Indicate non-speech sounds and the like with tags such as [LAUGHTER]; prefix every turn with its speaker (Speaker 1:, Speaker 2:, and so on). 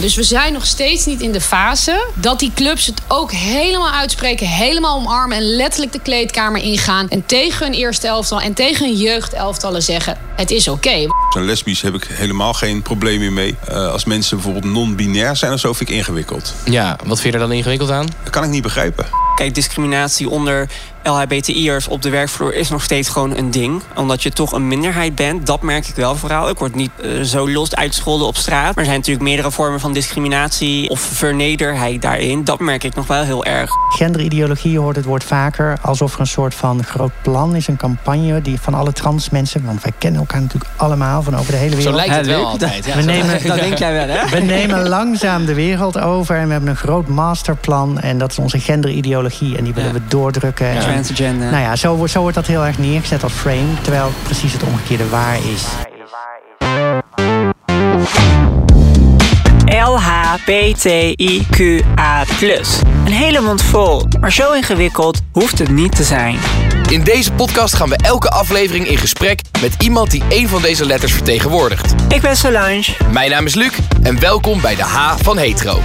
Speaker 1: Dus we zijn nog steeds niet in de fase dat die clubs het ook helemaal uitspreken, helemaal omarmen en letterlijk de kleedkamer ingaan en tegen hun eerste elftal en tegen hun jeugdelftallen zeggen: het is oké.
Speaker 2: Zijn lesbisch heb ik helemaal geen probleem meer mee. Eh, als mensen bijvoorbeeld non-binair zijn of zo, vind ik ingewikkeld.
Speaker 3: Ja, wat vind je er dan ingewikkeld aan?
Speaker 2: Dat kan ik niet begrijpen.
Speaker 4: Kijk, discriminatie onder LHBTI'ers op de werkvloer is nog steeds gewoon een ding. Omdat je toch een minderheid bent, dat merk ik wel vooral. Ik word niet eh, zo los uitgescholden op straat. Maar er zijn natuurlijk meerdere vormen van discriminatie of vernederheid daarin. Dat merk ik nog wel heel erg.
Speaker 5: Genderideologie hoort het woord vaker. Alsof er een soort van groot plan is. Een campagne die van alle trans mensen. Want wij kennen elkaar natuurlijk allemaal van over de hele wereld.
Speaker 3: Zo lijkt het
Speaker 4: Ja,
Speaker 3: wel
Speaker 4: leuk.
Speaker 3: altijd.
Speaker 5: [LAUGHS]
Speaker 3: Ja,
Speaker 5: We
Speaker 3: zo-
Speaker 4: [LAUGHS]
Speaker 5: nemen-
Speaker 4: Dat denk jij wel, hè?
Speaker 5: We nemen langzaam de wereld over. En we hebben een groot masterplan. En dat is onze genderideologie. En die willen
Speaker 4: Ja.
Speaker 5: we doordrukken. En-
Speaker 4: Transgender.
Speaker 5: Nou ja, zo, wordt- zo wordt dat heel erg neergezet als frame. Terwijl precies het omgekeerde waar is.
Speaker 4: LHBTIQA+. Een hele mond vol, maar zo ingewikkeld hoeft het niet te zijn.
Speaker 6: In deze podcast gaan we elke aflevering in gesprek met iemand die een van deze letters vertegenwoordigt.
Speaker 4: Ik ben Solange.
Speaker 6: Mijn naam is Luc en welkom bij de H van Hetero.